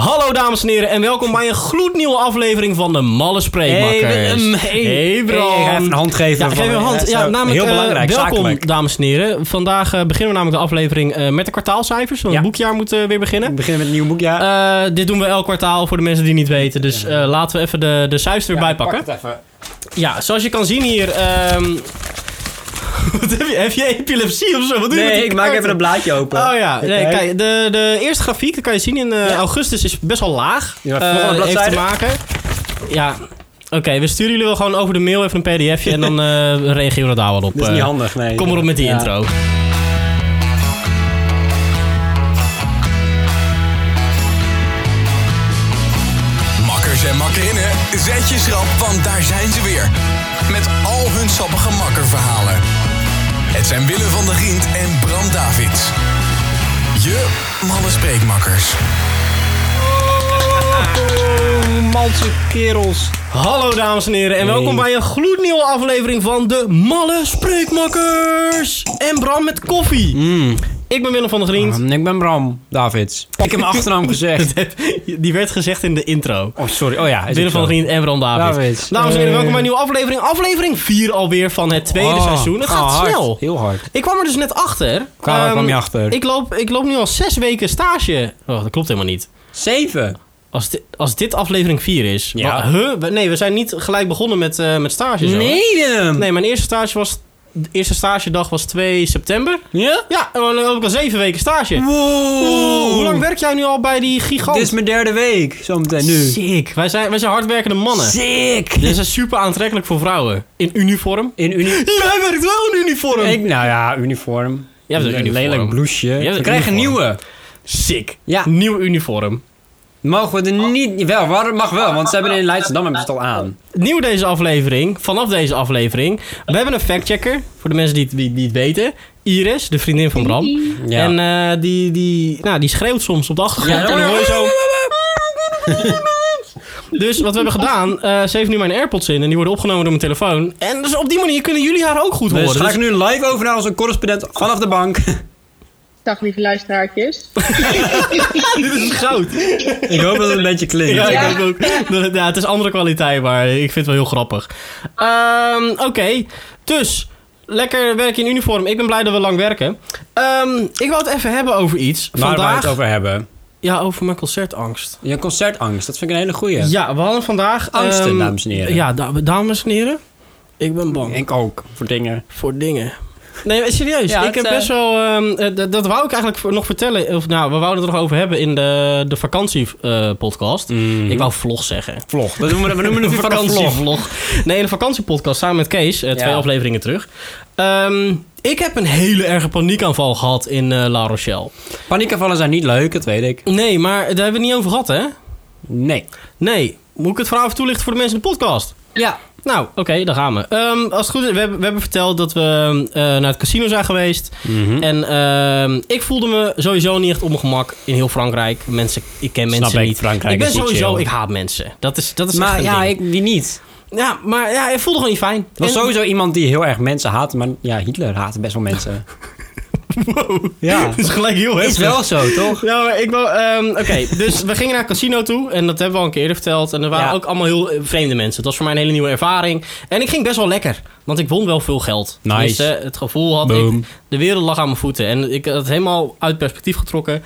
Hallo dames en heren en welkom bij een gloednieuwe aflevering van de Malle Spreekmakers. Hey, um, hey, hey, Bram. eh, Hey, even een hand geven. Ja, geef een hand. eh, Ja, namelijk, heel belangrijk, eh, welkom zakelijk. dames en heren. Vandaag eh, beginnen we namelijk de aflevering eh, met de kwartaalcijfers. Want Ja. het boekjaar moet eh, weer beginnen. We beginnen met een nieuw boekjaar. Eh, dit doen we elk kwartaal voor de mensen die niet weten. Dus eh, laten we even de, de cijfers erbij pakken. Ja, zoals je kan zien hier... ehm, Wat heb, je, heb je epilepsie of zo? Wat doe je met Nee, die ik maak even kaarten? een blaadje open. Oh ja, nee, eh, Kijk. kijk, de, de eerste grafiek, dat kan je zien in eh, augustus, is best wel laag. Ja, Eh, volgende heeft te bladzijde. maken. Ja, oké, we sturen jullie wel gewoon over de mail even een pdfje en dan eh reageren we daar wel op. Dat is niet eh. handig, nee. Kom erop met die Ja. intro. Makkers en makkerinnen, zet je schrap, want daar zijn ze weer. Met al hun sappige makkerverhalen. Het zijn Willem van der Giend en Bram Davids. Je malle spreekmakkers. Malse kerels. Hallo dames en heren en welkom bij een gloednieuwe aflevering van de Malle Spreekmakkers. En Bram met koffie. Mm. Ik ben Willem van der Grient. ik ben Bram Davids. Ik heb mijn achternaam Ah, gezegd. Die werd gezegd in de intro. Oh, sorry. Oh ja. is Willem ook van der zo. Grient en Bram Davids. Davids. Dames en heren, Eh. welkom bij een nieuwe aflevering. Aflevering 4 alweer van het tweede Oh, seizoen. Het oh, gaat hard. snel. Heel hard. Ik kwam er dus net achter. Waar Ehm, kwam je achter? Ik loop, ik loop nu al zes weken stage. Oh, dat klopt helemaal niet. Zeven. Als, di- als dit aflevering 4 is. Ja. wa- huh? We- Nee, we zijn niet gelijk begonnen met, eh met stage. zo. Willem. Nee, mijn eerste stage was. De eerste stagedag was 2 september. Ja? Ja, en dan loop ik al zeven weken stage. Oeh, Wow. Hoe lang werk jij nu al bij die gigant? Dit is mijn derde week. Zometeen nu. Sick. Wij zijn, wij zijn hardwerkende mannen. Sick. Dus Dit is super aantrekkelijk voor vrouwen. In uniform. In uniform. Jij werkt wel in uniform. Ik, nou ja, uniform. Jij hebt een uniform. lelijk blouseje. hebt We een krijgen een uniform. nieuwe. Sick. Ja. Nieuw uniform. Mogen we er niet... Wel, waar- mag wel. Want ze hebben in Leidschendam hebben ze het al aan. Nieuw deze aflevering, vanaf deze aflevering. We hebben een factchecker, voor de mensen die het, die, die het weten. Iris, de vriendin van Bram. Ja. En eh, die, die, nou, die schreeuwt soms op de achtergrond. Ja, en dan hoor je zo... Dus wat we hebben gedaan, eh, ze heeft nu mijn AirPods in en die worden opgenomen door mijn telefoon. En dus op die manier kunnen jullie haar ook goed horen. Dus ga Dus- ik nu live over naar onze correspondent vanaf de bank. Dag lieve luisteraartjes. dit is goud. ik hoop dat het een beetje klinkt. Ja, Ja. ik hoop ook. dat het- ja, het is andere kwaliteit, maar ik vind het wel heel grappig. Ehm, Oké, dus lekker werk in uniform. Ik ben blij dat we lang werken. Ehm, ik wou het even hebben over iets. Waar we vandaag, het over hebben. Ja, over mijn concertangst. Je concertangst, dat vind ik een hele goeie. Ja, we hadden vandaag... Angsten, ehm, dames en heren. Ja, da- dames en heren. Ik ben bang Ik ook, voor dingen. voor dingen. Nee, maar serieus. Ja, ik het, heb eh, best wel... ehm, eh, dat- dat wou ik eigenlijk voor- nog vertellen. Of, nou, we wouden het er nog over hebben in de, de vakantiepodcast. Mhm. Ik wou vlog zeggen. Vlog. Dat noemen we, we noemen het van een vlog. vakantievlog. Nee, een vakantiepodcast samen met Kees. eh, twee Ja. afleveringen terug. Ehm, ik heb een hele erge paniekaanval gehad in eh, La Rochelle. Paniekaanvallen zijn niet leuk, dat weet ik. Nee, maar daar hebben we het niet over gehad, hè? Nee. Nee. Moet ik het verhaal even toelichten voor de mensen in de podcast? Ja. Nou, oké, daar gaan we. Ehm, als het goed is, we hebben, we hebben verteld dat we ehm, eh, naar het casino zijn geweest. Mhm. En ehm, ik voelde me sowieso niet echt op mijn gemak in heel Frankrijk. Mensen, ik ken Snap mensen ik, niet. Frankrijk ik ben is niet sowieso, chill. ik haat mensen. Dat is, dat is echt Maar een ja, ding. ik, die niet. Ja, maar ja, ik voelde gewoon niet fijn. Er was En- sowieso iemand die heel erg mensen haatte, maar ja, Hitler haatte best wel mensen. Ja. Het is gelijk heel heftig. Oh. Is wel zo, toch? Ja, maar ik wou... ehm, Oké, dus we gingen naar het casino toe. En dat hebben we al een keer eerder verteld. En er waren Ja. ook allemaal heel eh, vreemde mensen. Het was voor mij een hele nieuwe ervaring. En ik ging best wel lekker. Want ik won wel veel geld. Nice. Tenminste, het gevoel had ik... Boom. De wereld lag aan mijn voeten. En ik had het helemaal uit perspectief getrokken.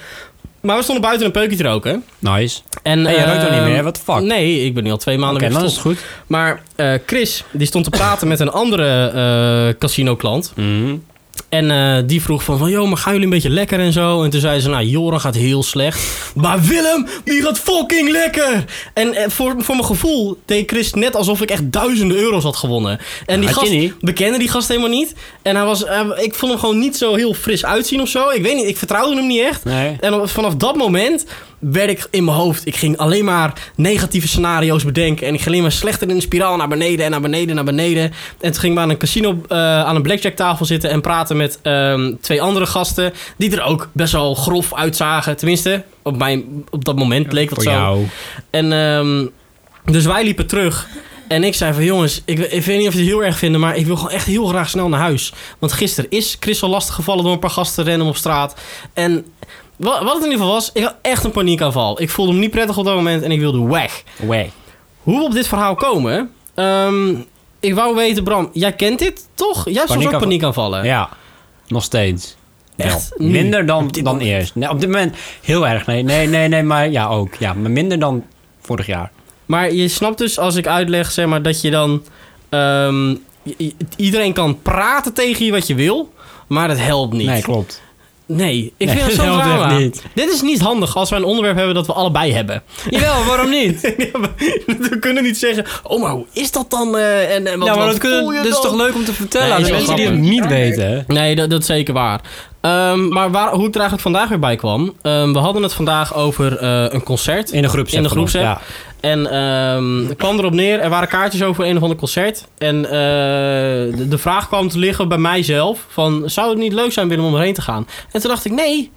Maar we stonden buiten een peukje te roken. Nice. En, Hey, jij rookt ook niet ehm, meer, what the fuck? Nee, ik ben nu al twee maanden Oké, weer dan is gestopt. het goed. Maar eh, Chris, die stond te praten met een andere eh, casino-klant. En eh, die vroeg van, van, joh, maar gaan jullie een beetje lekker en zo? En toen zei ze, nou, Joran gaat heel slecht. Maar Willem, die gaat fucking lekker! En eh, voor, voor mijn gevoel deed Chris net alsof ik echt duizenden euro's had gewonnen. En die Had je gast, niet? we kenden die gast helemaal niet. En hij was, eh, ik vond hem gewoon niet zo heel fris uitzien of zo. Ik weet niet, ik vertrouwde hem niet echt. Nee. En op- vanaf dat moment werd ik in mijn hoofd. Ik ging alleen maar negatieve scenario's bedenken. En ik ging alleen maar slechter in de spiraal naar beneden en naar beneden en naar beneden. En toen ging ik aan een casino, eh, aan een blackjack tafel zitten en praten met ehm, twee andere gasten. Die er ook best wel grof uitzagen. Tenminste, op, mijn, op dat moment leek dat Voor zo. jou. En ehm, dus wij liepen terug. En ik zei van jongens, ik, ik weet niet of jullie het heel erg vinden, maar ik wil gewoon echt heel graag snel naar huis. Want gisteren is Chris al lastiggevallen door een paar gasten random op straat. En Wa- Wat het in ieder geval was, ik had echt een paniekaanval. Ik voelde me niet prettig op dat moment en ik wilde weg. Way. Hoe we op dit verhaal komen... ehm, ik wou weten, Bram, jij kent dit toch? Jij hebt soms ook Paniekaanval- paniekaanvallen. Ja, nog steeds. Echt? Wel. Nu? Minder dan, Op dit dan moment? eerst. Nee, op dit moment heel erg. Nee, nee, nee, nee, maar ja, ook. Ja, maar minder dan vorig jaar. Maar je snapt dus als ik uitleg, zeg maar, dat je dan... ehm, i- i- iedereen kan praten tegen je wat je wil, maar dat helpt niet. Nee, klopt. Nee, ik Nee, vind het dat zo helpt echt drama. niet. Dit is niet handig als wij een onderwerp hebben dat we allebei hebben. Jawel, waarom niet? Ja, maar we kunnen niet zeggen, oh, maar hoe is dat dan? eh, en, en wat, ja, maar wat dat, kunnen, voel je dat is dan? toch leuk om te vertellen Nee, aan de is wel mensen die het grappig. niet weten. hè? Nee, dat, dat is zeker waar. Ehm, maar waar, hoe ik er eigenlijk vandaag weer bij kwam... ehm, we hadden het vandaag over eh, een concert. In de groep In de groepsapp. En ehm, het kwam erop neer, er waren kaartjes over een of ander concert. En eh, de, de vraag kwam te liggen bij mijzelf... van, zou het niet leuk zijn Willem om erheen te gaan? En toen dacht ik, nee,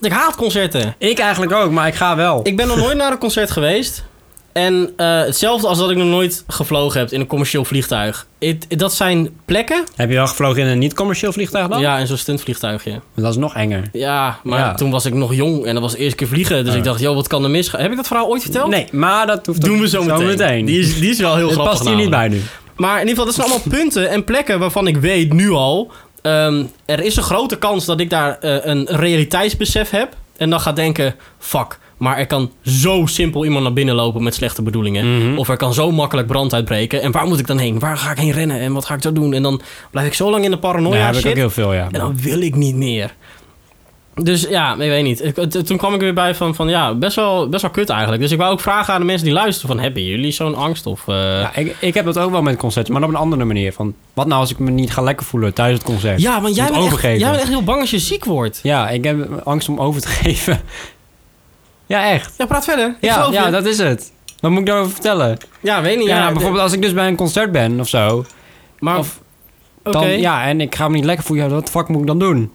want ik haat concerten. Ik eigenlijk ook, maar ik ga wel. Ik ben nog nooit naar een concert geweest. En eh, hetzelfde als dat ik nog nooit gevlogen heb in een commercieel vliegtuig. Het- het- dat zijn plekken. Heb je wel gevlogen in een niet-commercieel vliegtuig dan? Ja, in zo'n stuntvliegtuigje. Dat is nog enger. Ja, maar Ja. toen was ik nog jong en dat was de eerste keer vliegen. Dus ik dacht, joh, wat kan er misgaan? Heb ik dat verhaal ooit verteld? Nee, maar dat hoeft Doen ook- we zo meteen. Die, is, die is wel heel Het grappig. past hier niet namelijk. bij nu. Maar in ieder geval, dat zijn allemaal punten en plekken waarvan ik weet nu al... ehm, er is een grote kans dat ik daar eh, een realiteitsbesef heb. En dan ga denken, fuck, maar er kan zo simpel iemand naar binnen lopen met slechte bedoelingen. Mhm. Of er kan zo makkelijk brand uitbreken. En waar moet ik dan heen? Waar ga ik heen rennen? En wat ga ik zo doen? En dan blijf ik zo lang in de paranoia ja, heb ik shit. ook heel veel, ja. En dan wil ik niet meer. Dus ja, ik weet niet. Ik- het- Toen kwam ik er weer bij van, van ja, best wel, best wel kut eigenlijk. Dus ik wou ook vragen aan de mensen die luisteren van... Hebben jullie zo'n angst? Of, eh, Ja, ik, ik heb dat ook wel met concerten, maar op een andere manier. Van, wat nou als ik me niet ga lekker voelen tijdens het concert? Ja, want jij Moet bent, echt, jij overgeven. bent echt heel bang als je ziek wordt. Ja, ik heb angst om over te geven. Ja, echt. Ja, praat verder. Ik Ja, geloof ja je. dat is het. Wat moet ik daarover vertellen? ja, weet niet. Ja, Ja, nou, bijvoorbeeld als ik dus bij een concert ben of zo. Maar, of- oké. Dan, Ja, en ik ga me niet lekker voelen. Ja, wat fuck moet ik dan doen?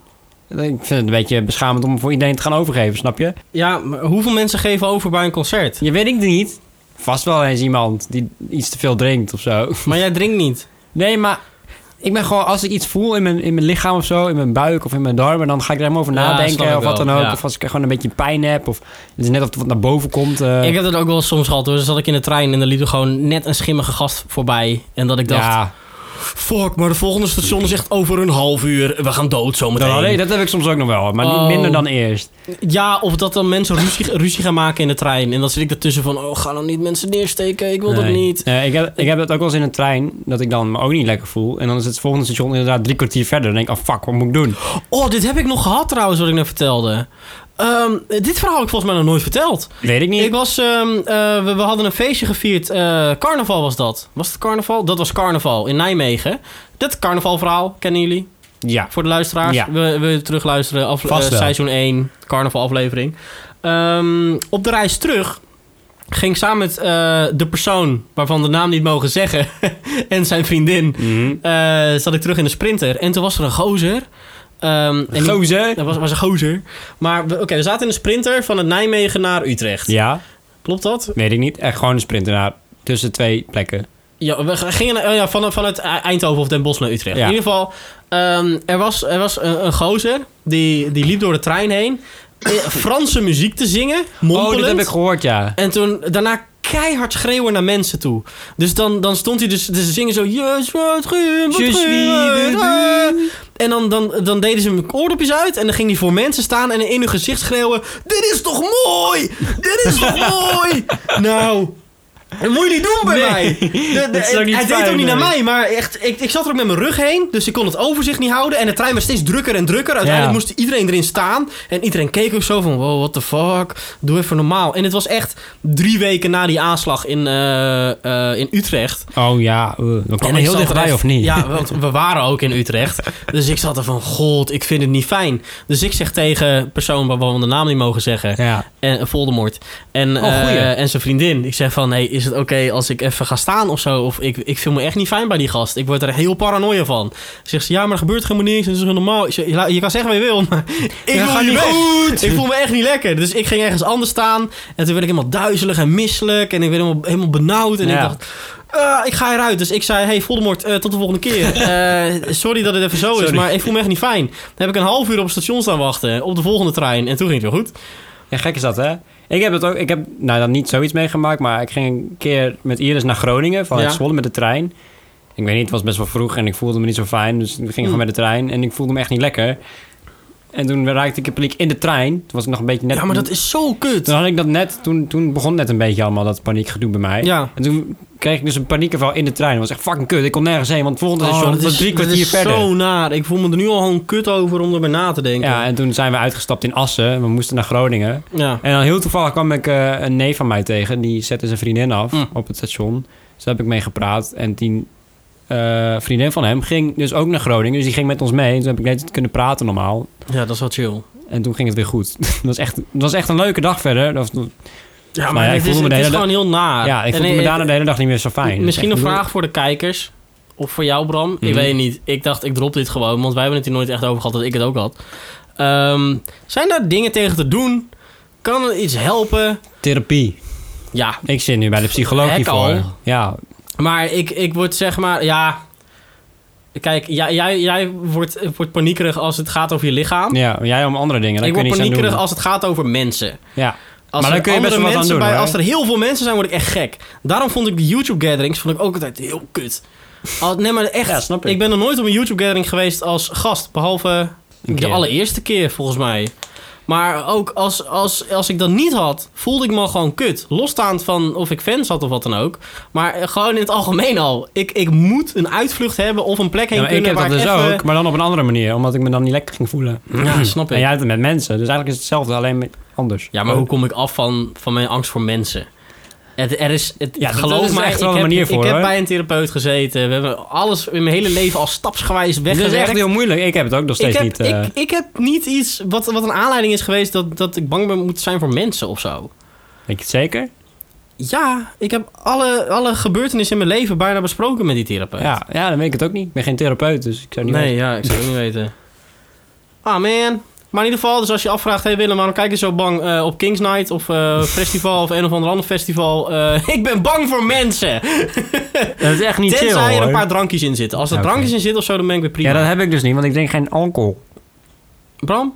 Ik vind het een beetje beschamend om voor iedereen te gaan overgeven, snap je? Ja, maar hoeveel mensen geven over bij een concert? Je weet ik niet. Vast wel eens iemand die iets te veel drinkt of zo. Maar jij drinkt niet. Nee, maar ik ben gewoon, als ik iets voel in mijn, in mijn lichaam of zo, in mijn buik of in mijn darmen, dan ga ik er helemaal over Ja, snap ik nadenken of wat wel, dan ook. ja. Of als ik gewoon een beetje pijn heb of het is net of het wat naar boven komt. eh. Ik heb dat ook wel eens soms gehad hoor. Dan zat ik in de trein en er liep er gewoon net een schimmige gast voorbij. En dat ik dacht, ja, fuck, maar de volgende station is echt over een half uur. We gaan dood zometeen. dat, Nou, nee, dat heb ik soms ook nog wel, maar Oh. niet minder dan eerst. Ja, of dat dan mensen ruzie, ruzie gaan maken in de trein. En dan zit ik ertussen van, oh, ga dan niet mensen neersteken. Ik wil dat Nee. niet. Nee, ik, heb, ik heb dat ook wel eens in een trein, dat ik dan me ook niet lekker voel. En dan is het volgende station inderdaad drie kwartier verder. Dan denk ik, oh fuck, wat moet ik doen? Oh, dit heb ik nog gehad trouwens, wat ik net vertelde. Ehm, dit verhaal heb ik volgens mij nog nooit verteld. Weet ik niet. Ik was, ehm, eh, we, we hadden een feestje gevierd. eh, carnaval was dat. Was het carnaval? Dat was carnaval in Nijmegen. Dat carnavalverhaal kennen jullie ja. voor de luisteraars. Ja. We, we terugluisteren af, Vast eh, wel. seizoen 1, carnaval aflevering. Ehm, op de reis terug ging ik samen met eh, de persoon waarvan de naam niet mogen zeggen en zijn vriendin Mhm. eh, zat ik terug in de sprinter. En toen was er een gozer. Ehm, en die- Gozer. dat was, was een gozer. Maar we- oké, we zaten in de sprinter van het Nijmegen naar Utrecht. Ja, Klopt dat? weet ik niet. Echt gewoon een sprinter naar tussen twee plekken. Oh, Ja, we g- gingen naar- oh ja, van, vanuit Eindhoven of Den Bosch naar Utrecht. Ja. In ieder geval, ehm, er was, er was een, een gozer die, die liep door de trein heen. eh, Franse muziek te zingen, mompelend. Oh, dit heb ik gehoord, ja. En toen daarna keihard schreeuwen naar mensen toe. Dus dan, dan stond hij dus, dus ze zingen zo... Yes, wat goed, wat Je goed, suis wat de goed." En dan, dan, dan deden ze hun oordopjes uit... en dan ging hij voor mensen staan en in hun gezicht schreeuwen... Dit is toch mooi! Dit is toch mooi! Nou... Dat moet je niet doen bij Nee, mij. De- de- dat is ook niet hij deed fijn, ook niet naar nee. mij, maar echt, ik, ik zat er ook met mijn rug heen. Dus ik kon het overzicht niet houden. En de trein werd steeds drukker en drukker. Uiteindelijk Ja. moest moest iedereen erin staan. En iedereen keek ook zo van, wow, what the fuck. Doe even normaal. En het was echt drie weken na die aanslag in, eh, eh, in Utrecht. Oh ja, eh, dan kwam En er ik heel zat er dichtbij echt- of niet? Ja, want we waren ook in Utrecht. Dus ik zat er van, god, ik vind het niet fijn. Dus ik zeg tegen persoon waarvan we de naam niet mogen zeggen... Ja. En eh, Voldemort. En, Oh, goeie. eh, en zijn vriendin. Ik zeg van, hey, is het oké als ik even ga staan of zo? Of ik, ik voel me echt niet fijn bij die gast. Ik word er heel paranoia van. Zegt ze, ja, maar er gebeurt helemaal niks. En ze is heel normaal. Ik zeg, "Ja, je kan zeggen wat je wil, maar ik Ja, voel gaat me niet weg. goed. Ik voel me echt niet lekker. Dus ik ging ergens anders staan. En toen werd ik helemaal duizelig en misselijk. En ik werd helemaal, helemaal benauwd. En Ja. ik dacht, "Eh, ik ga eruit. Dus ik zei, hey Voldemort, eh, tot de volgende keer. Eh, sorry dat het even zo is, Sorry. maar ik voel me echt niet fijn. Dan heb ik een half uur op het station staan wachten. Op de volgende trein. En toen ging het weer goed. Ja, gek is dat, hè? Ik heb het ook, ik heb nou dan niet zoiets meegemaakt, maar ik ging een keer met Iris naar Groningen vanuit Ja. Zwolle met de trein. Ik weet niet, het was best wel vroeg en ik voelde me niet zo fijn, dus ik ging Hmm. gewoon met de trein en ik voelde me echt niet lekker. En toen raakte ik in paniek in de trein. Toen was ik nog een beetje net. Ja, maar dat is zo kut. Toen had ik dat net, toen, toen begon net een beetje allemaal dat paniekgedoe bij mij. Ja. En toen kreeg ik dus een paniekaanval in de trein. Dat was echt fucking kut. Ik kon nergens heen, want het volgende Oh, station dat was drie dat kwartier is verder. zo naar. Ik voel me er nu al gewoon kut over om erbij na te denken. Ja, en toen zijn we uitgestapt in Assen. en We moesten naar Groningen. ja. En dan heel toevallig kwam ik eh, een neef van mij tegen. Die zette zijn vriendin af Mm. op het station. Dus daar heb ik mee gepraat. En die eh, vriendin van hem ging dus ook naar Groningen. Dus die ging met ons mee. Dus toen heb ik net kunnen praten normaal. ja, dat is wel chill. En toen ging het weer goed. het, was echt, het was echt een leuke dag verder. Dat was- Ja, maar, maar ja, ik het, is, voelde me de het is hele gewoon heel naar. ja, ik En voelde me ik- daarna de hele dag niet meer zo fijn. Misschien een Dus echt- vraag voor de kijkers. Of voor jou, Bram. Ik Mhm. weet het niet. Ik dacht, ik drop dit gewoon. Want wij hebben het hier nooit echt over gehad dat ik het ook had. Ehm, zijn daar dingen tegen te doen? Kan er iets helpen? Therapie. Ja, Ik zit nu bij de psycholoog Hek hiervoor. al. Ja, Maar ik, ik word zeg maar, ja. Kijk, jij, jij, jij wordt, wordt paniekerig als het gaat over je lichaam. ja, jij om andere dingen. Daar ik kun word je niks aan paniekerig doen. als het gaat over mensen. Ja. Als Maar er daar kun je andere best wel wat aan mensen doen, bij, hoor. Als er heel veel mensen zijn, word ik echt gek. Daarom vond ik de YouTube-gatherings vond ik ook altijd heel kut. Al- nee, maar echt. Ja, snap ik. ben nog nooit op een YouTube-gathering geweest als gast. Behalve Een de keer. allereerste keer, volgens mij. Maar ook als, als, als ik dat niet had, voelde ik me al gewoon kut. Losstaand van of ik fans had of wat dan ook. Maar eh, gewoon in het algemeen al. Ik, ik moet een uitvlucht hebben of een plek heen Ja, maar ik kunnen heb dat waar dus ik even... ook, maar dan op een andere manier. Omdat ik me dan niet lekker ging voelen. Ja, snap ik. En jij hebt het met mensen. Dus eigenlijk is het hetzelfde, alleen met- anders. Ja, maar hoe kom ik af van, van mijn angst voor mensen? Het, er is, het, Ja, dat- geloof dat is mij, echt wel ik een manier heb, voor, Ik heb hoor. bij een therapeut gezeten. We hebben alles in mijn hele leven al stapsgewijs Dat weggewerkt. Dus is echt heel moeilijk. Ik heb het ook nog ik, steeds heb, niet. eh, ik, ik heb niet iets wat, wat een aanleiding is geweest dat, dat ik bang ben moet zijn voor mensen of zo. Weet je het zeker? Ja, ik heb alle, alle gebeurtenissen in mijn leven bijna besproken met die therapeut. Ja, ja, dan weet ik het ook niet. Ik ben geen therapeut, dus ik zou niet Nee, weten. ja, ik zou het niet weten. Ah, man. Maar in ieder geval, dus als je afvraagt... Hey Willem, waarom kijk je zo bang eh, op Kings Night... of eh, festival of een of ander ander festival? Eh, ik ben bang voor mensen! Dat is echt niet Tenzij chill, er hoor. een paar drankjes in zitten. Als er Oké. drankjes in zitten of zo, dan ben ik weer prima. Ja, dat heb ik dus niet, want ik drink geen alcohol. Bram?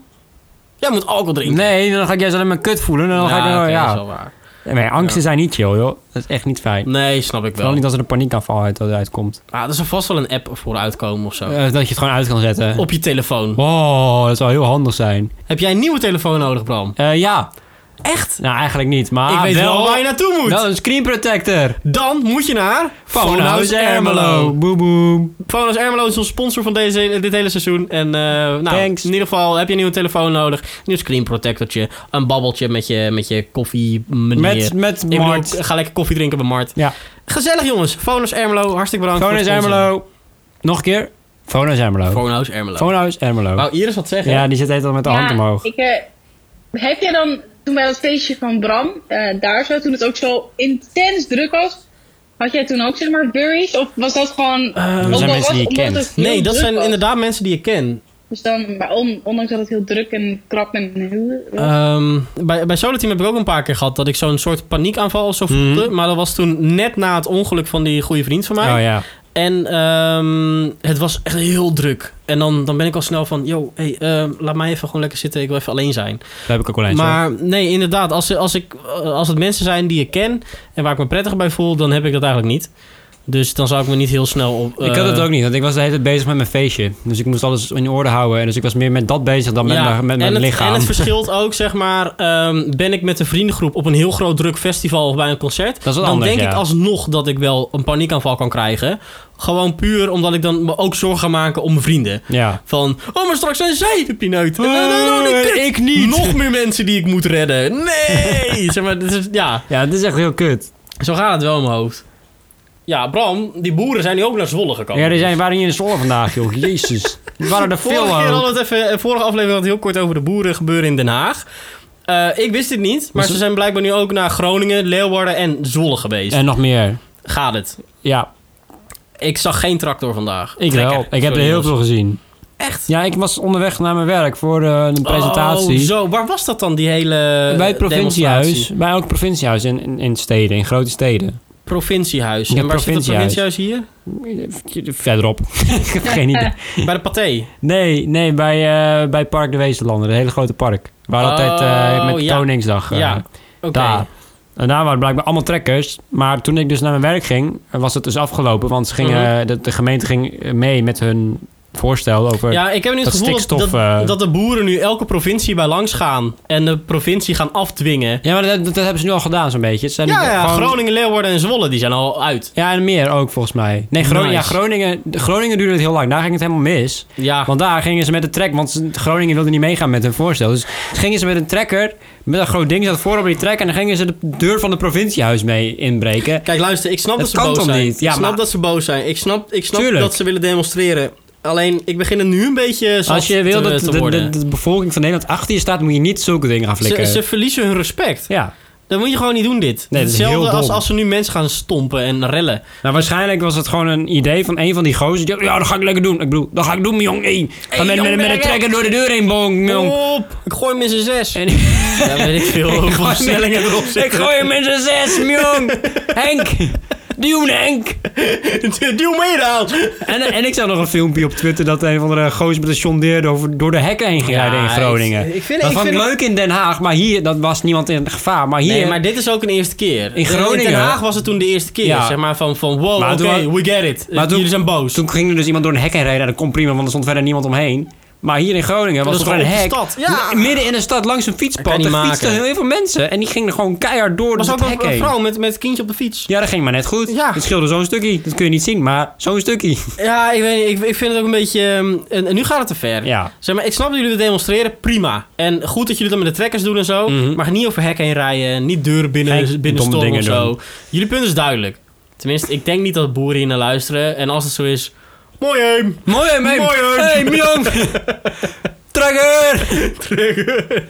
Jij moet alcohol drinken. Nee, dan ga ik juist alleen maar kut voelen. Dan ga ik, Ja, dan- oké, dat is ja. wel waar. Nee, maar angsten zijn niet chill, joh. Dat is echt niet fijn. Nee, snap ik Vooral wel. niet als er een paniekaanval uit, eruit komt. Ah, er zal vast wel een app voor uitkomen of zo. Eh, dat je het gewoon uit kan zetten. Op je telefoon. Oh, dat zou heel handig zijn. Heb jij een nieuwe telefoon nodig, Bram? Eh, ja, Echt? nou eigenlijk niet, maar ik weet wel, waar je naartoe moet. Wel een screen protector. Dan moet je naar... Phonehouse Ermelo. Boem boem. Phonos Ermelo is ons sponsor van deze, dit hele seizoen. En eh, nou, Thanks. in ieder geval heb je een nieuwe telefoon nodig. Een nieuw screen protectortje. Een babbeltje met je, met je koffie meneer. Met, met Ik bedoel, Mart. ga lekker koffie drinken bij Mart. Ja. Gezellig jongens. Phonos Ermelo, hartstikke bedankt Phonehouse voor het Ermelo. Nog een keer. Phonehouse sponsoren. Ermelo. Phonos Ermelo. Phonehouse Ermelo. Wou Iris wat zeggen? Ja, die zit altijd met de hand omhoog. Ik, eh, heb jij dan toen bij dat feestje van Bram, eh, daar zo, toen het ook zo intens druk was, had jij toen ook zeg maar worries? Of was dat gewoon. Eh, Er ook zijn al mensen die je was, omdat kent. het heel Nee, dat druk zijn was. inderdaad mensen die ik ken. Dus dan, maar on- ondanks dat het heel druk en krap en heel. eh, Eh, Ehm, bij, bij Solo Team heb ik ook een paar keer gehad dat ik zo'n soort paniekaanval of zo Mhm. voelde. Maar dat was toen net na het ongeluk van die goede vriend van mij. Oh ja. En ehm, het was echt heel druk. En dan, dan ben ik al snel van, yo, hey, ehm, laat mij even gewoon lekker zitten. Ik wil even alleen zijn. Daar heb ik ook wel eens. hoor. maar nee, inderdaad, als, als, ik, eh, als het mensen zijn die ik ken en waar ik me prettig bij voel, dan heb ik dat eigenlijk niet. Dus dan zou ik me niet heel snel op. eh, Ik had het ook niet, want ik was de hele tijd bezig met mijn feestje. Dus ik moest alles in orde houden. En Dus ik was meer met dat bezig dan met, Ja, mijn, met en mijn het, lichaam. En het verschilt ook, zeg maar, ehm, ben ik met een vriendengroep op een heel groot druk festival of bij een concert, Dat is wat dan anders, denk ja. ik alsnog dat ik wel een paniekaanval kan krijgen. Gewoon puur omdat ik dan me ook zorgen ga maken om mijn vrienden. ja. Van, oh, maar straks zijn zij de pineut. En dan- dan- dan- dan- Eh, ik niet. Nog meer mensen die ik moet redden. Nee! zeg maar, dit is, ja, Ja, het is echt heel kut. zo gaat het wel in mijn hoofd. Ja, Bram, die boeren zijn nu ook naar Zwolle gekomen. Ja, die zijn, waren hier in Zwolle vandaag, joh. Jezus. Die waren er veel Oh, Vorige keer ook. hadden we het even, eh, vorige aflevering hadden we het heel kort over de boeren gebeuren in Den Haag. Eh, ik wist dit niet, maar ze- ze zijn blijkbaar nu ook naar Groningen, Leeuwarden en Zwolle geweest. En nog meer. Gaat het? Ja, Ik zag geen tractor vandaag. ik Gekker. wel. Ik heb er Sorry, heel jongens. veel gezien. Echt? Ja, ik was onderweg naar mijn werk voor eh, een presentatie. Oh, zo. Waar was dat dan, die hele bij het provinciehuis. demonstratie? Bij elk provinciehuis in, in, in steden, in grote steden. Provinciehuis. Ja, en waar zit het provinciehuis. provinciehuis hier? Verderop. ik heb geen idee. Bij de Pathé. Nee, nee bij, eh, bij Park de Wezenlanden, het hele grote park. Waar Oh, altijd eh, met ja. Koningsdag. eh, Ja, Oké. Daar. En daar waren blijkbaar allemaal trekkers. Maar toen ik dus naar mijn werk ging, was het dus afgelopen. Want ze gingen, Mhm. eh, de, de gemeente ging eh, mee met hun voorstel over... Ja, ik heb nu het Dat gevoel dat, stikstof, dat, eh, dat de boeren nu elke provincie bij langs gaan. En de provincie gaan afdwingen. Ja, maar dat, dat hebben ze nu al gedaan zo'n beetje. Het zijn Ja, ja gewoon- Groningen, Leeuwarden en Zwolle die zijn al uit. Ja, en meer ook volgens mij. Nee, Groningen, Nice. ja, Groningen, Groningen duurde het heel lang. Daar ging het helemaal mis. Ja, Want daar gingen ze met de trek, want ze- Groningen wilde niet meegaan met hun voorstel. Dus gingen ze met een trekker, met een groot ding, zat voorop op die trekker... en dan gingen ze de deur van het provinciehuis mee inbreken. kijk, luister, ik snap Het dat ze kan boos toch zijn. niet? Ja, ik snap maar- dat ze boos zijn. Ik snap, ik snap Tuurlijk. dat ze willen demonstreren. Alleen, ik begin er nu een beetje zat Als je wil te, dat te de, de, worden. de bevolking van Nederland achter je staat, moet je niet zulke dingen gaan ze, flikken. ze verliezen hun respect. Ja. Dat moet je gewoon niet doen, dit. Nee, dat is Hetzelfde heel dom. als als ze nu mensen gaan stompen en rellen. Nou, waarschijnlijk was het gewoon een idee van een van die gozers. Die, ja, dat ga ik lekker doen. Ik bedoel, dat ga ik doen, jong. Hey, ga met, met, met een trekker door de deur heen, bong, Kom jong. op, ik gooi mensen zes. En- Ja, weet ik veel. Hoeveel gooi versnellingen hem- erop Ik zitten. gooi hem in zijn zes, jong. Henk. Duw Henk. Duw mee dan. En, en ik zag nog een filmpje op Twitter dat een van de gozer met een John Deere over, door de hekken heen ging Ja, rijden in ik- Groningen. ik vind- dat ik vond vind- leuk in Den Haag, maar hier, dat was niemand in gevaar. Maar hier, Nee, maar dit is ook een eerste keer. Groningen- In Den Haag was het toen de eerste keer. Ja. Zeg maar van, van wow, Maar oké, toen wa- we get it. maar toen- Jullie zijn boos. Toen ging er dus iemand door een hek heen rijden. en Dat kon prima, want er stond verder niemand omheen. Maar hier in Groningen was Dat er is gewoon een hek. gewoon op de stad. Ja. M- Midden in de stad langs een Dat fietspad. kan je Er niet fietsten maken. heel veel mensen. En die gingen er gewoon keihard door was door ook het hek een, een heen. vrouw met, met het kindje op de fiets. Ja, dat ging maar net goed. Ja. Het scheelde zo'n stukje. Dat kun je niet zien, maar zo'n stukje. Ja, ik, weet, niet, ik, ik vind het ook een beetje... ehm, en, en nu gaat het te ver. Ja. Zeg maar, ik snap dat jullie het demonstreren, prima. En goed dat jullie dat met de trekkers doen en zo. Mhm. Maar niet over hekken heen rijden, niet deuren binnen, Geen binnen domme stormen of dingen zo. doen. Jullie punt is duidelijk. Tenminste, ik denk niet dat boeren hier naar luisteren. En als het zo is, mooi heen. Mooi hè, Mooi, hoor. Hey, Milan. Trekker. Trigger.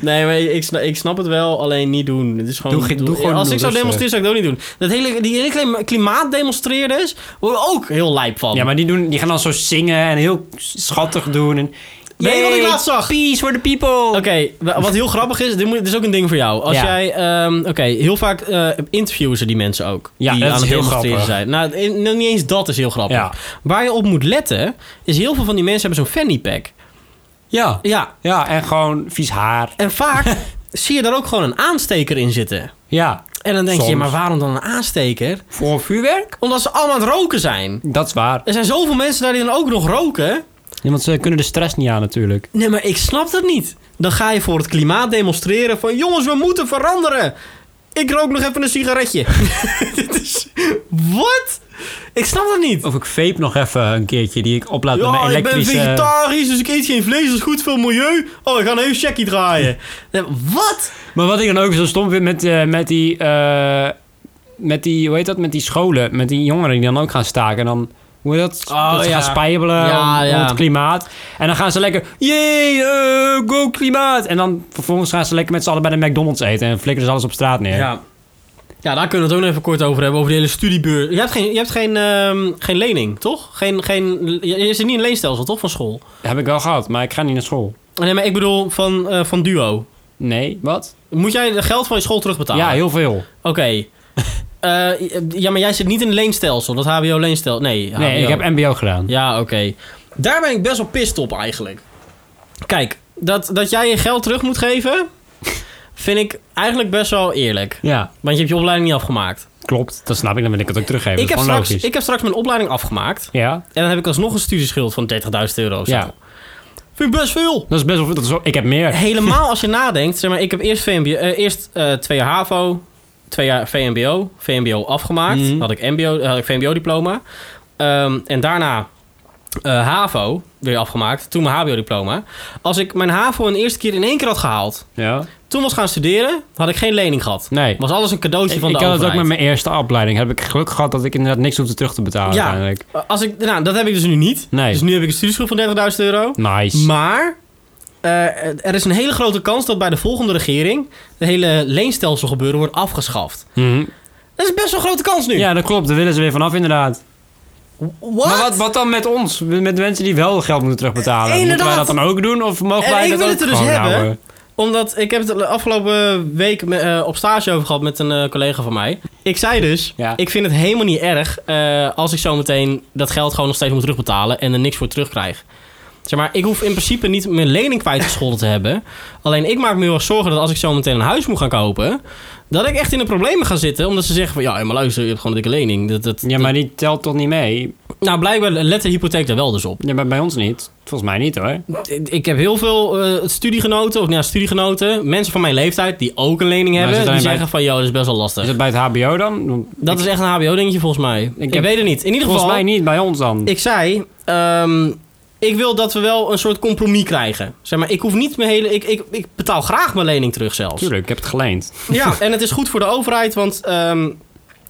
Nee, maar ik snap, ik snap het wel, alleen niet doen. Het is gewoon, Doe geen- doe gewoon dus, eh. als ik zou rustig. demonstreren, zou ik dat ook niet doen. Dat hele, die hele klima- klimaatdemonstreerders worden ook heel lijp van. Ja, maar die, doen, die gaan dan zo zingen en heel schattig doen. En, Weet je wat ik Yay, laatst zag? Peace for the people. Oké, wa- wat heel grappig is, dit, moet, dit is ook een ding voor jou. Als Ja. jij, ehm, oké, heel vaak eh, interviewen ze die mensen ook. Ja, die dat aan is het heel demonstreren grappig. zijn. Nou, in- nou, niet eens dat is heel grappig. Ja. Waar je op moet letten, is heel veel van die mensen hebben zo'n fanny pack. Ja. Ja, Ja, en gewoon vies haar. en vaak zie je daar ook gewoon een aansteker in zitten. Ja. En dan denk je, Soms. maar waarom dan een aansteker? Voor vuurwerk? Omdat ze allemaal aan het roken zijn. Dat is waar. Er zijn zoveel mensen daar die dan ook nog roken. Ja, want ze kunnen de stress niet aan natuurlijk. Nee, maar ik snap dat niet. Dan ga je voor het klimaat demonstreren van... jongens, we moeten veranderen. Ik rook nog even een sigaretje. Dit is... Wat? Ik snap dat niet. Of ik vape nog even een keertje die ik oplaad met Ja, mijn ik ben elektrische... vegetarisch, dus ik eet geen vlees. Dat is goed voor het milieu. Oh, ik ga een heel checkie draaien. Nee, Wat? Maar wat ik dan ook zo stom vind met, eh, met die... eh, met die, hoe heet dat, met die scholen, met die jongeren die dan ook gaan staken. En dan, hoe heet dat, Oh, dat ze ja. gaan spijbelen Ja, om, om ja. het klimaat. En dan gaan ze lekker, jee, eh, go klimaat. En dan vervolgens gaan ze lekker met z'n allen bij de McDonald's eten en flikkeren ze alles op straat neer. Ja. Ja, daar kunnen we het ook nog even kort over hebben. Over de hele studiebeurs. Je hebt geen, je hebt geen, ehm, geen lening, toch? Geen, geen, je je zit niet in een leenstelsel, toch? Van school. Heb ik wel gehad, maar ik ga niet naar school. Nee, maar ik bedoel van, eh, van Duo. Nee, wat? Moet jij het geld van je school terugbetalen? Ja, heel veel. Oké. Eh, ja, maar jij zit niet in een leenstelsel. Dat HBO-leenstelsel. Nee, HBO. Nee, ik heb mbo gedaan. Ja, oké. Daar ben ik best wel pist op eigenlijk. Kijk, dat, dat jij je geld terug moet geven... vind ik eigenlijk best wel eerlijk. ja. Want je hebt je opleiding niet afgemaakt. Klopt, dat snap ik. Dan wil ik het ook teruggeven. Ik dat heb, is gewoon straks, logisch. ik heb straks mijn opleiding afgemaakt. Ja, En dan heb ik alsnog een studieschuld van 30.000 euro of zo. Ja. Vind ik best veel. dat is best wel veel. Dat is wel- ik heb meer. helemaal als je nadenkt. Zeg maar, ik heb eerst, VMBO, eh, eerst eh, twee jaar HAVO, twee jaar VMBO. VMBO afgemaakt. Mhm. Had ik, MBO, eh, had ik VMBO-diploma. Ehm, en daarna eh, HAVO weer afgemaakt. Toen mijn HBO-diploma. Als ik mijn HAVO een eerste keer in één keer had gehaald... Ja. toen was gaan studeren, had ik geen lening gehad. Nee. Was alles een cadeautje Ik, van de ik had het ook overheid. met mijn eerste opleiding. Heb ik geluk gehad dat ik inderdaad niks hoefde terug te betalen Ja. uiteindelijk. Eh, Als ik, nou, dat heb ik dus nu niet. Nee. Dus nu heb ik een studieschuld van 30.000 euro. Nice. Maar eh, eh, er is een hele grote kans dat bij de volgende regering... de hele leenstelsel gebeuren wordt afgeschaft. Mhm. Dat is best wel een grote kans nu. Ja, dat klopt. Daar willen ze weer vanaf, inderdaad. What? Maar wat, wat dan met ons? Met de mensen die wel geld moeten terugbetalen? Eh, Moeten wij dat inderdaad. dan ook doen? Of mogen En wij ik dat wil ook het er dus gewoon hebben. houden? Omdat ik heb het de afgelopen week me- eh, op stage over gehad met een eh, collega van mij. Ik zei dus, Ja. ik vind het helemaal niet erg eh, als ik zometeen dat geld gewoon nog steeds moet terugbetalen en er niks voor terugkrijg. Zeg maar, ik hoef in principe niet mijn lening kwijtgescholden te hebben. Alleen ik maak me heel erg zorgen dat als ik zometeen een huis moet gaan kopen, dat ik echt in de problemen ga zitten. Omdat ze zeggen van, ja, maar luister, je hebt gewoon een dikke lening. Dat, dat, Ja, maar die telt toch niet mee? dat- nou, blijkbaar let de hypotheek daar wel dus op. Ja, maar bij ons niet. Volgens mij niet hoor. Ik ik heb heel veel eh, studiegenoten, of nou ja, studiegenoten, mensen van mijn leeftijd die ook een lening Maar hebben, zit er die een bij- zeggen van, joh, dat is best wel lastig. Is het bij het HBO dan? Want Dat ik- is echt een hbo-dingetje volgens mij. Ik, heb- weet het niet. In ieder volgens geval, mij niet bij ons dan. ik zei, ehm, ik wil dat we wel een soort compromis krijgen. Zeg maar, ik hoef niet mijn hele, ik, ik, ik betaal graag mijn lening terug zelfs. Tuurlijk, ik heb het geleend. Ja, en het is goed voor de overheid, want ehm,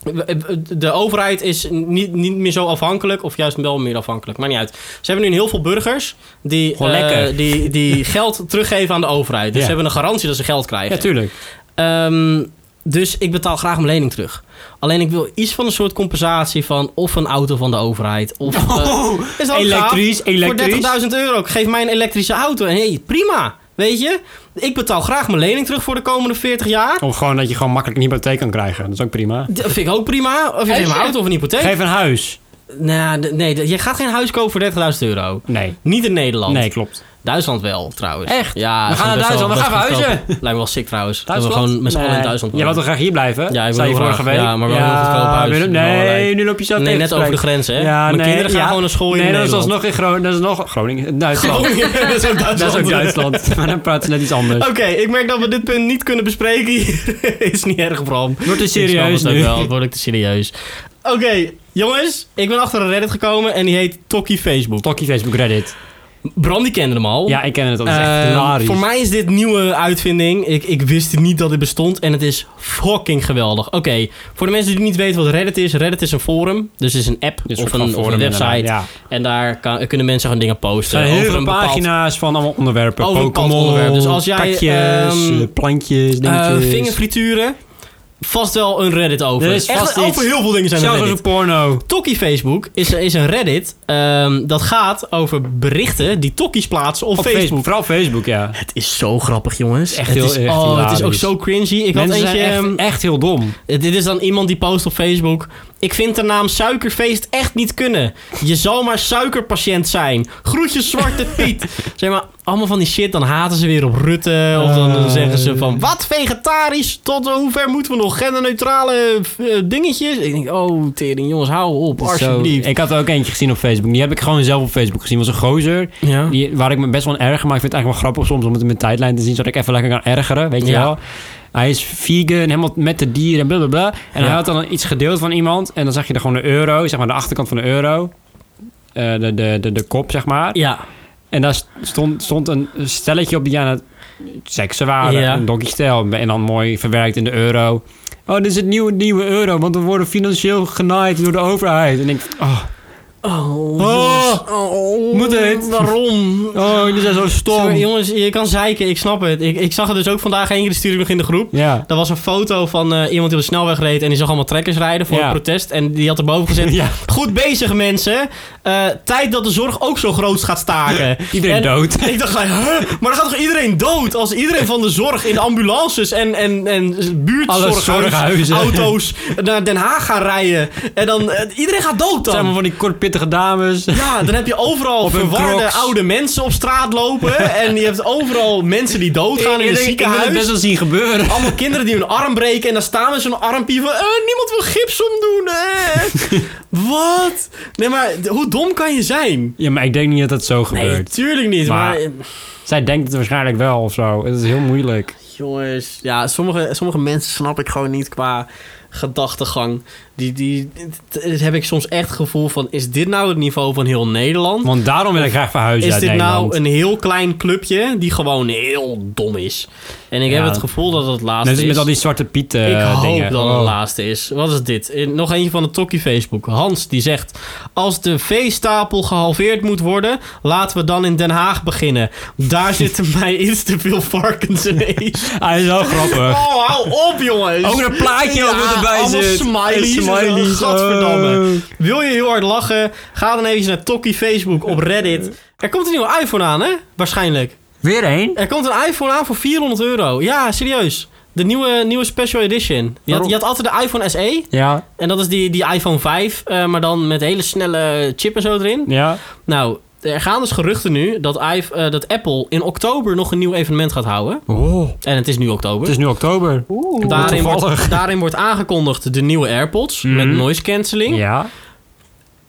we- eh, de overheid is niet, niet meer zo afhankelijk, of juist wel meer afhankelijk, maar niet uit. Ze hebben nu heel veel burgers die, Gewoon eh, lekker. die, die geld teruggeven aan de overheid. Dus Ja. ze hebben een garantie dat ze geld krijgen. Ja, tuurlijk. Ehm, dus ik betaal graag mijn lening terug. Alleen ik wil iets van een soort compensatie van of een auto van de overheid. Of, eh, is dat ook elektrisch, gaaf? elektrisch. Voor 30.000 euro. Geef mij een elektrische auto. En hey, prima. Weet je? Ik betaal graag mijn lening terug voor de komende 40 jaar. Of gewoon dat je gewoon makkelijk een hypotheek kan krijgen. Dat is ook prima. Dat vind ik ook prima. Of je geeft me een auto of een hypotheek. Geef een huis. Nou, d- nee, d- je gaat geen huis kopen voor 30.000 euro. Nee. Niet in Nederland. Nee, klopt. Duitsland wel, trouwens. Echt? Ja, We is gaan naar best wel- Duitsland, we best gaan wel verhuizen. goedkoop. Lijkt me wel sick trouwens. Duitsland? Dat we gewoon met z'n allen in Nee. Duitsland Jij wilt toch wonen. graag hier blijven? Ja, ik wil Zei je heel vorige graag. week. Ja, maar wel een heel goedkoop huis. Willem, Allerlei. nee, nu loop je zelf Nee, tegen net te over de spreken. grens, hè? Mijn kinderen gaan gewoon naar school in Nee, dat is Nederland. alsnog in Groningen. Dat is nog Groningen. Duitsland. dat is ook Duitsland. Dat is ook Duitsland. maar dan praten ze net iets anders. Oké, ik merk dat we dit punt niet kunnen bespreken. hier. is niet erg, Bram. Wordt te Ik snap serieus het ook nu. wel, word ik te serieus. Oké, jongens, ik ben achter een Reddit gekomen en die heet Tokkie Facebook. Tokkie Facebook Reddit. Bram die kende hem al. Ja, ik ken het. Dat is echt Eh, hilarisch. voor mij is dit nieuwe uitvinding. Ik, ik wist niet dat dit bestond en het is fucking geweldig. Oké, voor de mensen die niet weten wat Reddit is. Reddit is een forum, dus het is een app Dit of, soort een, van of een forum website. inderdaad, ja. En daar kan- kunnen mensen gewoon dingen Er posten. zijn over heel veel een bepaald pagina's van allemaal onderwerpen. Over een bepaald onderwerp. Pokémon, Dus als jij, katjes, ehm, eh, plantjes, Eh, dingetjes. vingerfrituren. Vast wel een Reddit over. Er is Echt, vast over iets. heel veel dingen zijn er Zelfs als Reddit. een porno. Tokkie Facebook is, is een Reddit ehm, dat gaat over berichten die tokkies plaatsen op, Op Facebook. Facebook. Vooral Facebook, ja. Het is zo grappig, jongens. Echt het heel- is, echt oh, het is ook hilarisch. zo cringy. Ik Mensen had eentje... zijn echt, ehm, echt heel dom. dit is dan iemand die post op Facebook. Ik vind de naam suikerfeest echt niet kunnen. Je zal maar suikerpatiënt zijn. Groetjes Zwarte Piet. zeg maar, allemaal van die shit. Dan haten ze weer op Rutte. Of dan, dan zeggen ze van, wat vegetarisch? Tot hoever moeten we nog genderneutrale eh, dingetjes? Ik denk, oh tering jongens, hou op. Alsjeblieft. Zo, ik had er ook eentje gezien op Facebook. Die heb ik gewoon zelf op Facebook gezien. was een gozer. Ja. Die, waar ik me best wel aan erger, maar ik vind het eigenlijk wel grappig soms om het in mijn tijdlijn te zien, zodat ik even lekker kan ergeren, weet je Ja. wel. Hij is vegan, helemaal met de dieren en blablabla. En Ja. hij had dan iets gedeeld van iemand en dan zag je er gewoon de euro, zeg maar de achterkant van de euro. Eh, de, de, de, de kop, zeg maar. Ja, En daar stond, stond een stelletje op die aan het seksen waren. Ja. Een doggy-stijl. En dan mooi verwerkt in de euro. Oh, dit is het nieuwe, nieuwe euro. Want we worden financieel genaaid door de overheid. En ik denk, oh, Oh, jongens. Moet het? Waarom? oh jullie zijn zo Sorry, stom. jongens, je kan zeiken, ik snap het. Ik, ik zag het dus ook vandaag eentje, die stuurde ik nog in de groep. Ja. Er was een foto van eh, iemand die op de snelweg reed en die zag allemaal trekkers rijden voor Ja. een protest. En die had erboven gezet, Ja. goed bezig mensen, Eh, tijd dat de zorg ook zo groot gaat staken. Iedereen En dood. Ik dacht, gelijk, huh? maar dan gaat toch iedereen dood als iedereen van de zorg in ambulances en, en, en buurtzorghuizen, zorghuizen. auto's naar Den Haag gaan rijden. En dan, eh, iedereen gaat dood dan. Het zijn allemaal van die kortpittige dames. Ja, dan heb je overal Op hun verwarde crocs. oude mensen op straat lopen. En je hebt overal mensen die doodgaan in Ik het denk, ik wil het ziekenhuis. best wel zien gebeuren. Allemaal kinderen die hun arm breken en dan staan we zo'n armpje van... eh, niemand wil gips omdoen, eh. Wat? Nee, maar d- hoe dom kan je zijn? Ja, maar ik denk niet dat dat zo Nee, gebeurt. tuurlijk niet, maar... Maar- Zij denkt het waarschijnlijk wel of zo. Het is heel moeilijk. Jongens, ja, sommige, sommige mensen snap ik gewoon niet qua... gedachtegang. Die, die, t- t- heb ik soms echt het gevoel van... is dit nou het niveau van heel Nederland? Want daarom wil ik graag verhuizen Is uit dit Nederland. nou een heel klein clubje die gewoon heel dom is? En ik Ja. heb het gevoel dat dat het laatste Net als is. met al die zwarte piet eh, ik hoop dingen. dat het Oh. de laatste is. Wat is dit? Eh, Nog eentje van de Tokkie Facebook. Hans die zegt... Als de veestapel gehalveerd moet worden... laten we dan in Den Haag beginnen. Daar zitten mij iets te veel varkens in. Hij Ah, is wel grappig. Oh, hou op jongens! Ook een plaatje Dus Ja, wat erbij allemaal zit. smileys. En smileys. Gadverdamme. Oh. Wil je heel hard lachen? Ga dan even naar Tokkie Facebook op Reddit. Er komt een nieuwe iPhone aan, hè? Waarschijnlijk. Weer één? Er komt een iPhone aan voor 400 euro. Ja, serieus. De nieuwe, nieuwe Special Edition. Je had, Waarom? je had altijd de iPhone SE. Ja, En dat is die, die iPhone 5. eh, maar dan met hele snelle chip en zo erin. ja. Nou, er gaan dus geruchten nu dat, i- eh, dat Apple in oktober nog een nieuw evenement gaat houden. Oh, En het is nu oktober. het is nu oktober. daarin, toevallig. wordt, daarin wordt aangekondigd de nieuwe AirPods. Mhm. Met noise cancelling. Ja.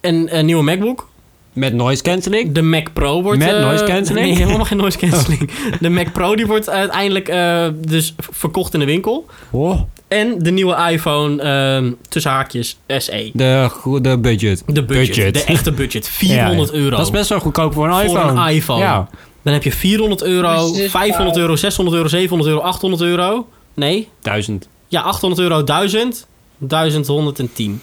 En een nieuwe MacBook. Met noise cancelling. De Mac Pro wordt... Met eh, noise cancelling? Oh. Nee, helemaal geen noise cancelling. De Mac Pro die wordt uiteindelijk eh, dus v- verkocht in de winkel. Oh. En de nieuwe iPhone, ehm, tussen haakjes, SE. De, go- de budget. De budget, Budget. de echte budget. Ja, 400 euro. Dat is best wel goedkoop voor een Voor iPhone. een iPhone. Ja. Dan heb je 400 euro, Dus het is 500 euro, 600 euro, 700 euro, 800 euro. Nee, Duizend. ja, 800 euro, 1000. 1110.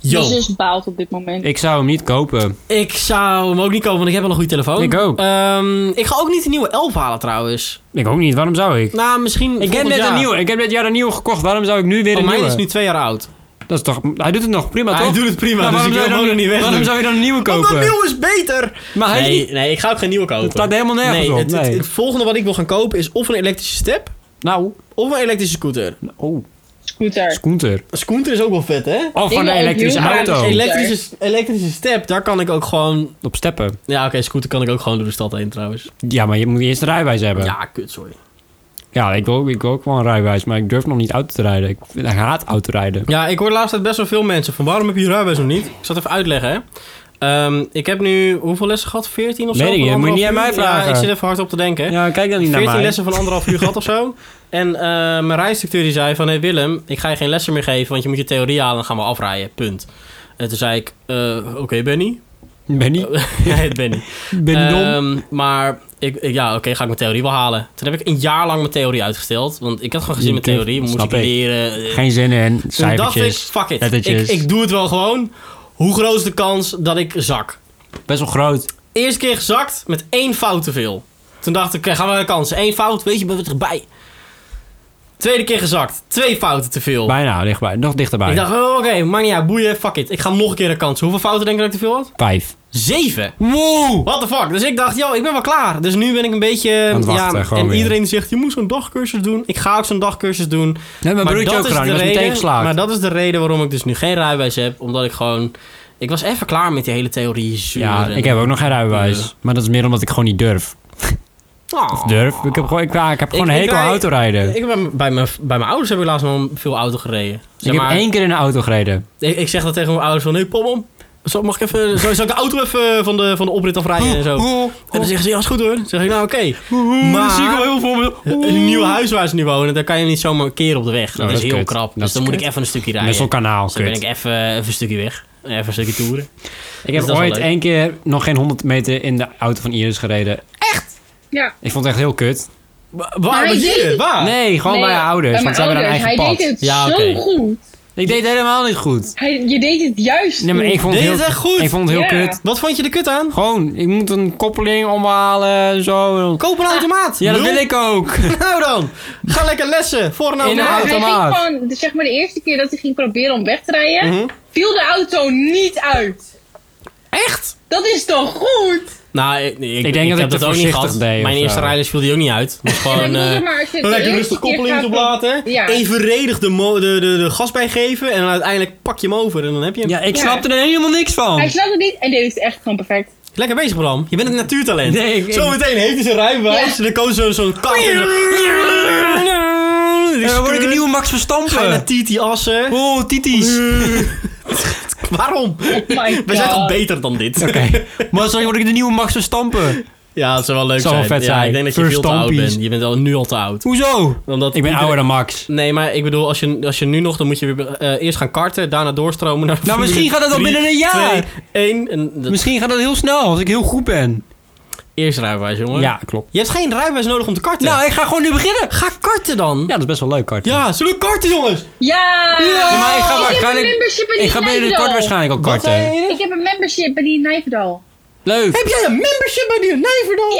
Yo, Dus is baalt op dit moment. Ik zou hem niet kopen. ik zou hem ook niet kopen, want ik heb wel een goede telefoon. Ik ook. Ehm, ik ga ook niet de nieuwe 11 halen trouwens. Ik ook niet. Waarom zou ik? Nou, misschien Ik heb volgend net jaar. een nieuwe. Ik heb dit jaar een nieuwe gekocht. Waarom zou ik nu weer Oh, een mijn nieuwe? is nu twee jaar oud. Dat is toch... Hij doet het nog prima, toch? Hij doet het prima, Nou, dus ik waarom wil hem ook nog zou je dan- niet weg. Waarom zou je dan een nieuwe kopen? is beter! Maar hij is Nee, niet- nee, ik ga ook geen nieuwe kopen. Het staat helemaal nergens nee, op. Het, het- nee. het volgende wat ik wil gaan kopen is of een elektrische step nou. of een elektrische scooter. Oh. Scooter. Scooter. Een scooter is ook wel vet, hè? Of gewoon wil een ook elektrische heel graag auto. een Elektrische, elektrische step, daar kan ik ook gewoon... Op steppen. Ja, oké, scooter kan ik ook gewoon door de stad heen trouwens. Ja, maar je moet eerst een rijwijs hebben. Ja, Ja, kut, sorry. ik, wil, ook- ik wil ook wel een rijwijs. Maar ik durf nog niet auto te rijden. Ik, ik haat autorijden. Ja, ik hoor laatst tijd best wel veel mensen van waarom heb je je rijbewijs nog niet? Ik zal het even uitleggen, hè. Ehm, ik heb nu hoeveel lessen gehad? 14 of zo? Weet ik van niet, dat moet je niet aan anderhalf mij uur? vragen. Ja, ik zit even hard op te denken. Ja, kijk dan niet naar 14 mij. lessen van anderhalf uur gehad of zo. En eh, mijn rijinstructeur die zei van... Hé hey Willem, ik ga je geen lessen meer geven... want je moet je theorie halen en dan gaan we afrijden. Punt. En toen zei ik... eh, Oké, Benny. Ben niet, ja, het Benny. ben niet dom. Ehm, maar ik, ik- ja, oké, ga ik mijn theorie wel halen. Toen heb ik een jaar lang mijn theorie uitgesteld. Want ik had gewoon gezien Je mijn theorie. Moest ik snap ik. leren. eh, Geen zin in. toen dacht ik, Cijfertjes. fuck it. Ik, lettertjes. ik doe het wel gewoon. Hoe groot is de kans dat ik zak? Best wel groot. Eerste keer gezakt met één fout te veel. Toen dacht ik, oké, gaan we naar de kans. Eén fout, weet je, ben we erbij. Tweede keer gezakt. Twee fouten te veel. Bijna, dichtbij. Nog dichterbij. Ik dacht, oh, oké, maar niet uit, boeien, fuck it. Ik ga nog een keer de kans. Hoeveel fouten denk je dat ik te veel had? Vijf. Zeven. Wow! What the fuck? Dus ik dacht, yo, ik ben wel klaar. Dus nu ben ik een beetje... het wachten, ja, gewoon en weer. iedereen zegt, je moet zo'n dagcursus doen. Ik ga ook zo'n dagcursus doen. Nee, mijn broertje dat ook is gedaan. de Die was meteen reden- geslaagd. Maar dat is de reden waarom ik dus nu geen rijbewijs heb. Omdat ik gewoon... Ik was even klaar met die hele theorie. zeuren. Ja, ik heb ook nog geen rijbewijs. Ja. Maar dat is meer omdat ik gewoon niet durf. Oh. Durf? Ik heb gewoon, ik, ja, ik heb gewoon Ik- een ik hekel aan rij- autorijden. Ik, Ik ben, bij, mijn, bij mijn ouders heb ik laatst nog veel auto gereden. Zeg maar, heb één keer in een auto gereden. ik, ik zeg dat tegen mijn ouders van... Hé, hey, pom, pom, zal- Mag ik even... Zal, zal ik de auto even van de, van de oprit afrijden en zo? En dan zeggen ze, ja, is goed hoor. Dan zeg ik, nou oké. Maar- zie ik al heel veel. Een nieuw huis waar ze nu wonen, daar kan je niet zomaar een keer op de weg. Dat, Oh, dat is is heel kut. krap. Dat Dus is dan moet kut. ik even een stukje rijden. Messelkanaal, Dus dan ben kut. ik even, even een stukje weg. Even een stukje toeren. Dus Ik heb dat is wel ooit leuk. één keer nog geen 100 meter in de auto van Iris gereden. Ja. Ik vond het echt heel kut. Waar? hij wat deed hier? het. Waar? Nee, gewoon bij Nee, haar ouders. bij want ze mijn hebben een ouders. eigen Hij pad. deed het Ja, zo oké. goed. Ik deed het helemaal niet goed. Hij, je deed het juist Nee, maar goed. ik vond het Deed heel, het echt goed? Ik vond het heel Ja. kut. Wat vond je de kut aan? Gewoon, ik moet een koppeling omhalen, zo. Koop een Ah. automaat. Ja, dat Lul. wil ik ook. Nou dan. Ga lekker lessen voor een In een automaat. Maar hij ging automaat. gewoon, dus zeg maar de eerste keer dat hij ging proberen om weg te rijden, Mhm. viel de auto niet uit. Echt? Dat is toch goed? Nou, ik, ik, denk dat heb ik te ook niet voorzichtig gehad. deed of Mijn eerste zo. rijles viel die ook niet uit. Dus Ik gewoon... bedoel, eh, maar als je het de Lekker eerste rustig keer koppeling gaat op laten. pro- Ja. Evenredig de, mo- de, de, de gas bijgeven. En dan uiteindelijk pak je hem over. En dan heb je hem. Ja, ik Ja. snapte er helemaal niks van. Hij snapte het niet en deed het echt gewoon perfect. Lekker bezig, Bram. Je bent een natuurtalent. Nee, ik- Zometeen heeft hij zijn rijbewijs. Ja. En dan komen ze zo'n kant. En dan word ik een nieuwe Max Ga je naar Verstappen. Titi Assen. Oh, tities. Waarom? Oh my We zijn God. toch beter dan dit? Oké. Maar straks word ik de nieuwe Max Verstappen. Ja, het zou wel leuk Zou wel zijn. vet ja, zijn. Ik denk dat je First veel te oud Stompies. bent. Je bent al, nu al te oud. Hoezo? Omdat Ik ben iedereen- ouder dan Max. Nee, maar ik bedoel, als je, als je nu nog, dan moet je weer eh, eerst gaan karten, daarna doorstromen naar. Nou, misschien gaat het al binnen een jaar. 1. En dat- Misschien gaat dat heel snel, als ik heel goed ben. eerst rijbewijs, jongen. Ja, klopt. Je hebt geen rijbewijs nodig om te karten. Nou, ik ga gewoon nu beginnen. ga karten dan. Ja, dat is best wel leuk, kart. Ja, zullen we karten, jongens? Ja! Ja, maar ik ga waarschijnlijk- Ik heb Oh, een membership in Ik die ga binnen de Nijverdal. kort waarschijnlijk ook Wat zei karten. je? Ik heb een membership bij die Nijverdal. Leuk. Heb jij een membership bij die Nijverdal?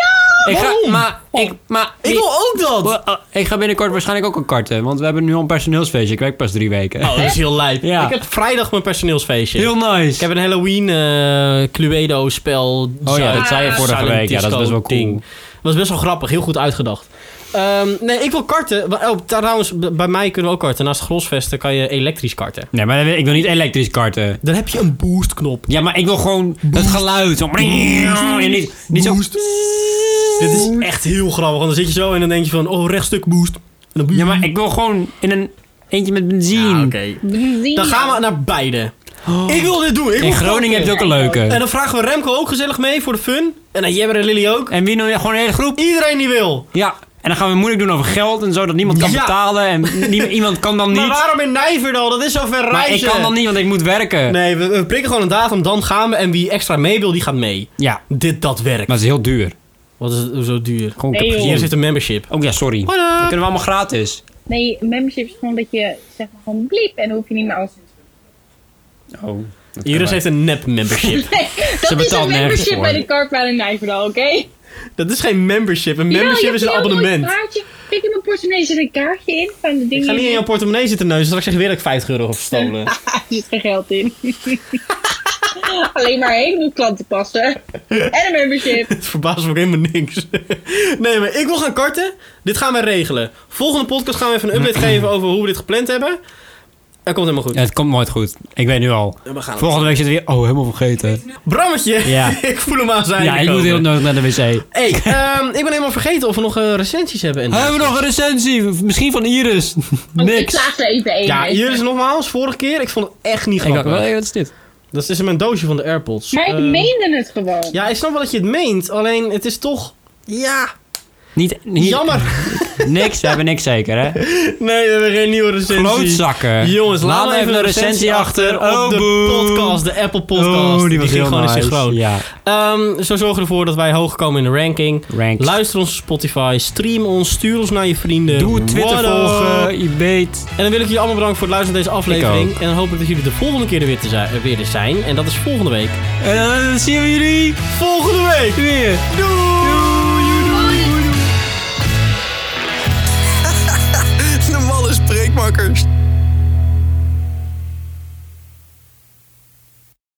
Ik ga, waarom? maar, Oh. ik, maar, Ik wil ook dat. Wel, eh, Ik ga binnenkort waarschijnlijk ook een karten, want we hebben nu al een personeelsfeestje. Ik werk pas drie weken. Oh, dat is heel lijp. Ja. Ik heb vrijdag mijn personeelsfeestje. Heel nice. Ik heb een Halloween eh, Cluedo-spel. Oh ja, dat zei je Ah. vorige Silent week. Ja, dat disco is best wel cool. ding. Dat was best wel grappig. Heel goed uitgedacht. Ehm, nee, ik wil karten. Maar- Oh, trouwens, b- bij mij kunnen we ook karten. Naast grosvesten kan je elektrisch karten. Nee, maar ik wil niet elektrisch karten. Dan heb je een boostknop. Ja, maar ik wil gewoon het geluid. Zo. En niet, niet zo... Dit is echt heel grappig. Want dan zit je zo en dan denk je van... Oh, rechtstuk boost. En dan Ja, maar ik wil gewoon in een eentje met benzine. Ja, oké. Benzine. Dan gaan we naar beide. Ik wil dit doen. Ik wil Oh. In Groningen heb je ook een En leuke. dan vragen we Remco ook gezellig mee voor de fun. En dan Jebber en Lily ook. En wie noem je gewoon een hele groep? Iedereen die wil. Ja. En dan gaan we moeilijk doen over geld en zo, dat niemand kan Ja. betalen. En nie- iemand kan dan Maar niet. waarom in Nijverdal? Dat is zo ver Maar ik reizen. kan dan niet, want ik moet werken. Nee, we, we prikken gewoon een datum, dan gaan we. En wie extra mee wil, die gaat mee. Ja, Dit, dat werkt. maar het is heel duur. Wat is het zo duur? Gewoon, ik Nee, heb joh. Hier gezien. zit een membership. Oh ja, sorry. Dat Hallo. kunnen we allemaal gratis. Nee, membership is gewoon dat je zeg maar gewoon bliep en dan hoef je niet meer alles te doen. Oh. Iris heeft een nep-membership. Dat is betaalt nergens een membership voor. bij de kartbaan in Nijverdal, oké? dat is geen membership. Een membership is een abonnement. Kijk in mijn portemonnee, zit een kaartje in van de dingen. Ik ga niet in jouw portemonnee zitten neuzen. Straks zeg je weer dat ik 50 euro heb gestolen. Er zit Ah, geen geld in. Alleen maar een heleboel klanten passen. En een membership. Het verbaast me ook helemaal niks. nee, maar ik wil gaan karten. Dit gaan we regelen. Volgende podcast gaan we even een update geven over hoe we dit gepland hebben. Dat komt helemaal goed. Ja, het komt nooit goed. Ik weet nu al. We gaan Volgende week zitten we weer... Oh, helemaal vergeten. Brammetje, Ja. ik voel hem aan zijn. Ja, ik moet heel nodig naar de wc. Hey, ehm, ik ben helemaal vergeten of we nog eh, recensies hebben. En Hebben we nog een recensie? Misschien van Iris? Ik Niks. slaag ze even één. Ja, weet hier je. is nogmaals, vorige keer, ik vond het echt niet Ik dacht, grappig. wel, hey, wat is dit? dat is dus in mijn doosje van de AirPods. Maar ik Eh, meende het gewoon. Ja, ik snap wel dat je het meent, alleen het is toch... Ja, Niet, niet, jammer. Niks, we hebben niks zeker, hè? Nee, we hebben geen nieuwe recensie. Klootzakken. Jongens, laat, Eh, Laat even, een recensie achter op Oh, de boe. podcast, de Apple podcast. Oh, die was ging heel gewoon in nice. synchroon. Ja. Ehm, zo zorgen we ervoor dat wij hoog komen in de ranking. Ranks. Luister ons op Spotify, stream ons, stuur ons naar je vrienden. Doe Twitter What up? volgen. Je weet. En dan wil ik jullie allemaal bedanken voor het luisteren naar deze aflevering. En dan hoop ik dat jullie de volgende keer er weer, te zijn, er weer zijn. En dat is volgende week. En dan zien we jullie Volgende week! weer. De malle spreekmakkers.